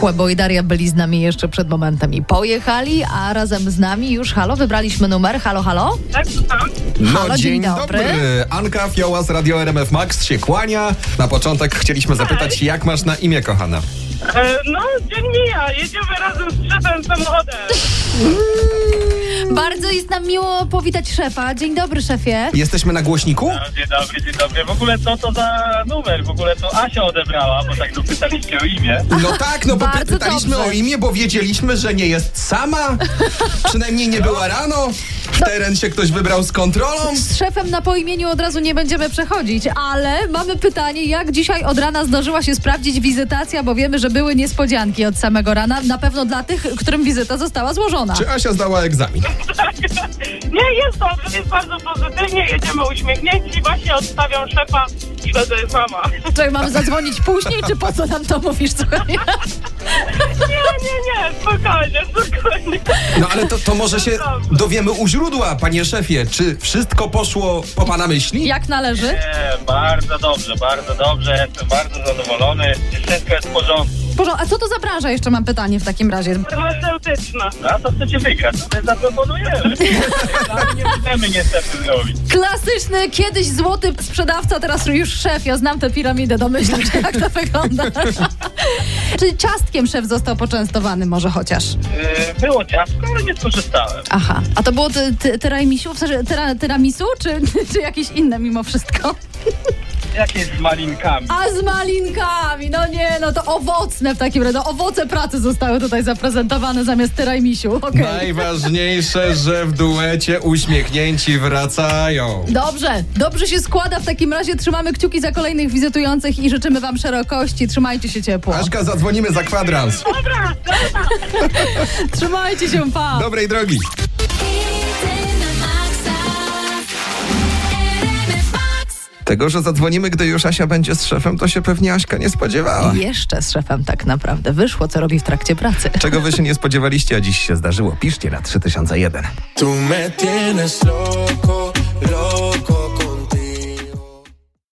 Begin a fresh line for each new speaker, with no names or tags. Kłebo i Daria byli z nami jeszcze przed momentem i pojechali, a razem z nami już halo, wybraliśmy numer. Halo, halo?
Tak, słucham?
No
Halo, dzień
dzień, dobry.
dobry.
Anka Fioła z Radio RMF Max się kłania. Na początek chcieliśmy zapytać, jak masz na imię, kochana?
E, no, dzień mija, jedziemy razem z szefem samochodem.
Bardzo jest nam miło powitać szefa. Dzień dobry, szefie.
Jesteśmy na głośniku?
Dzień dobry, dzień dobry. W ogóle co to za numer? W ogóle to Asia odebrała, bo tak dopytaliście o imię.
No tak, no bo
Bardzo
pytaliśmy
dobrze.
o imię, bo wiedzieliśmy, że nie jest sama. Przynajmniej nie była rano.
No.
W teren się ktoś wybrał z kontrolą.
Z szefem na poimieniu od razu nie będziemy przechodzić, ale mamy pytanie, jak dzisiaj od rana zdążyła się sprawdzić wizytacja, bo wiemy, że były niespodzianki od samego rana, na pewno dla tych, którym wizyta została złożona.
Czy Asia zdała egzamin?
Nie, jest dobrze, jest bardzo pozytywnie, jedziemy uśmiechnięci. Właśnie odstawiam szefa i będę sama.
Czy mamy zadzwonić później, czy po co nam to mówisz? Słuchaj?
Nie, nie, nie, spokojnie, spokojnie.
No ale to, to może się dowiemy u źródła, panie szefie. Czy wszystko poszło po pana myśli?
Jak należy?
Nie, bardzo dobrze, bardzo dobrze. Jestem bardzo zadowolony. Wszystko jest w porządku.
W porządku. A co to za branża? Jeszcze mam pytanie w takim razie.
Farmaceutyczna.
A to chcecie wygrać? To my zaproponujemy. Sami nie chcemy niestety zrobić.
Klasyczny, kiedyś złoty sprzedawca, teraz już szef. Ja znam tę piramidę, domyślam się, jak to wygląda. Czyli ciastkiem szef został poczęstowany może chociaż.
Yy, Było ciastko, ale nie skorzystałem.
Aha. A to było ty, ty, tyramisu, w sensie tyra, tyramisu czy, czy jakieś inne mimo wszystko?
Jakieś z malinkami.
A z malinkami, no nie, no to owocne w takim razie. No, owoce pracy zostały tutaj zaprezentowane zamiast tyramisiu. Okej.
Najważniejsze, że w duecie uśmiechnięci wracają.
Dobrze, dobrze się składa. W takim razie trzymamy kciuki za kolejnych wizytujących i życzymy Wam szerokości. Trzymajcie się ciepło.
Aśka, zadzwonimy za kwadrans.
Dobra,
Trzymajcie się, pa!
Dobrej drogi. Tego, że zadzwonimy, gdy już Asia będzie z szefem, to się pewnie Aśka nie spodziewała.
Jeszcze z szefem tak naprawdę wyszło, co robi w trakcie pracy.
Czego wy się nie spodziewaliście, a dziś się zdarzyło? Piszcie na 3001.
Tú me tienes loco, loco.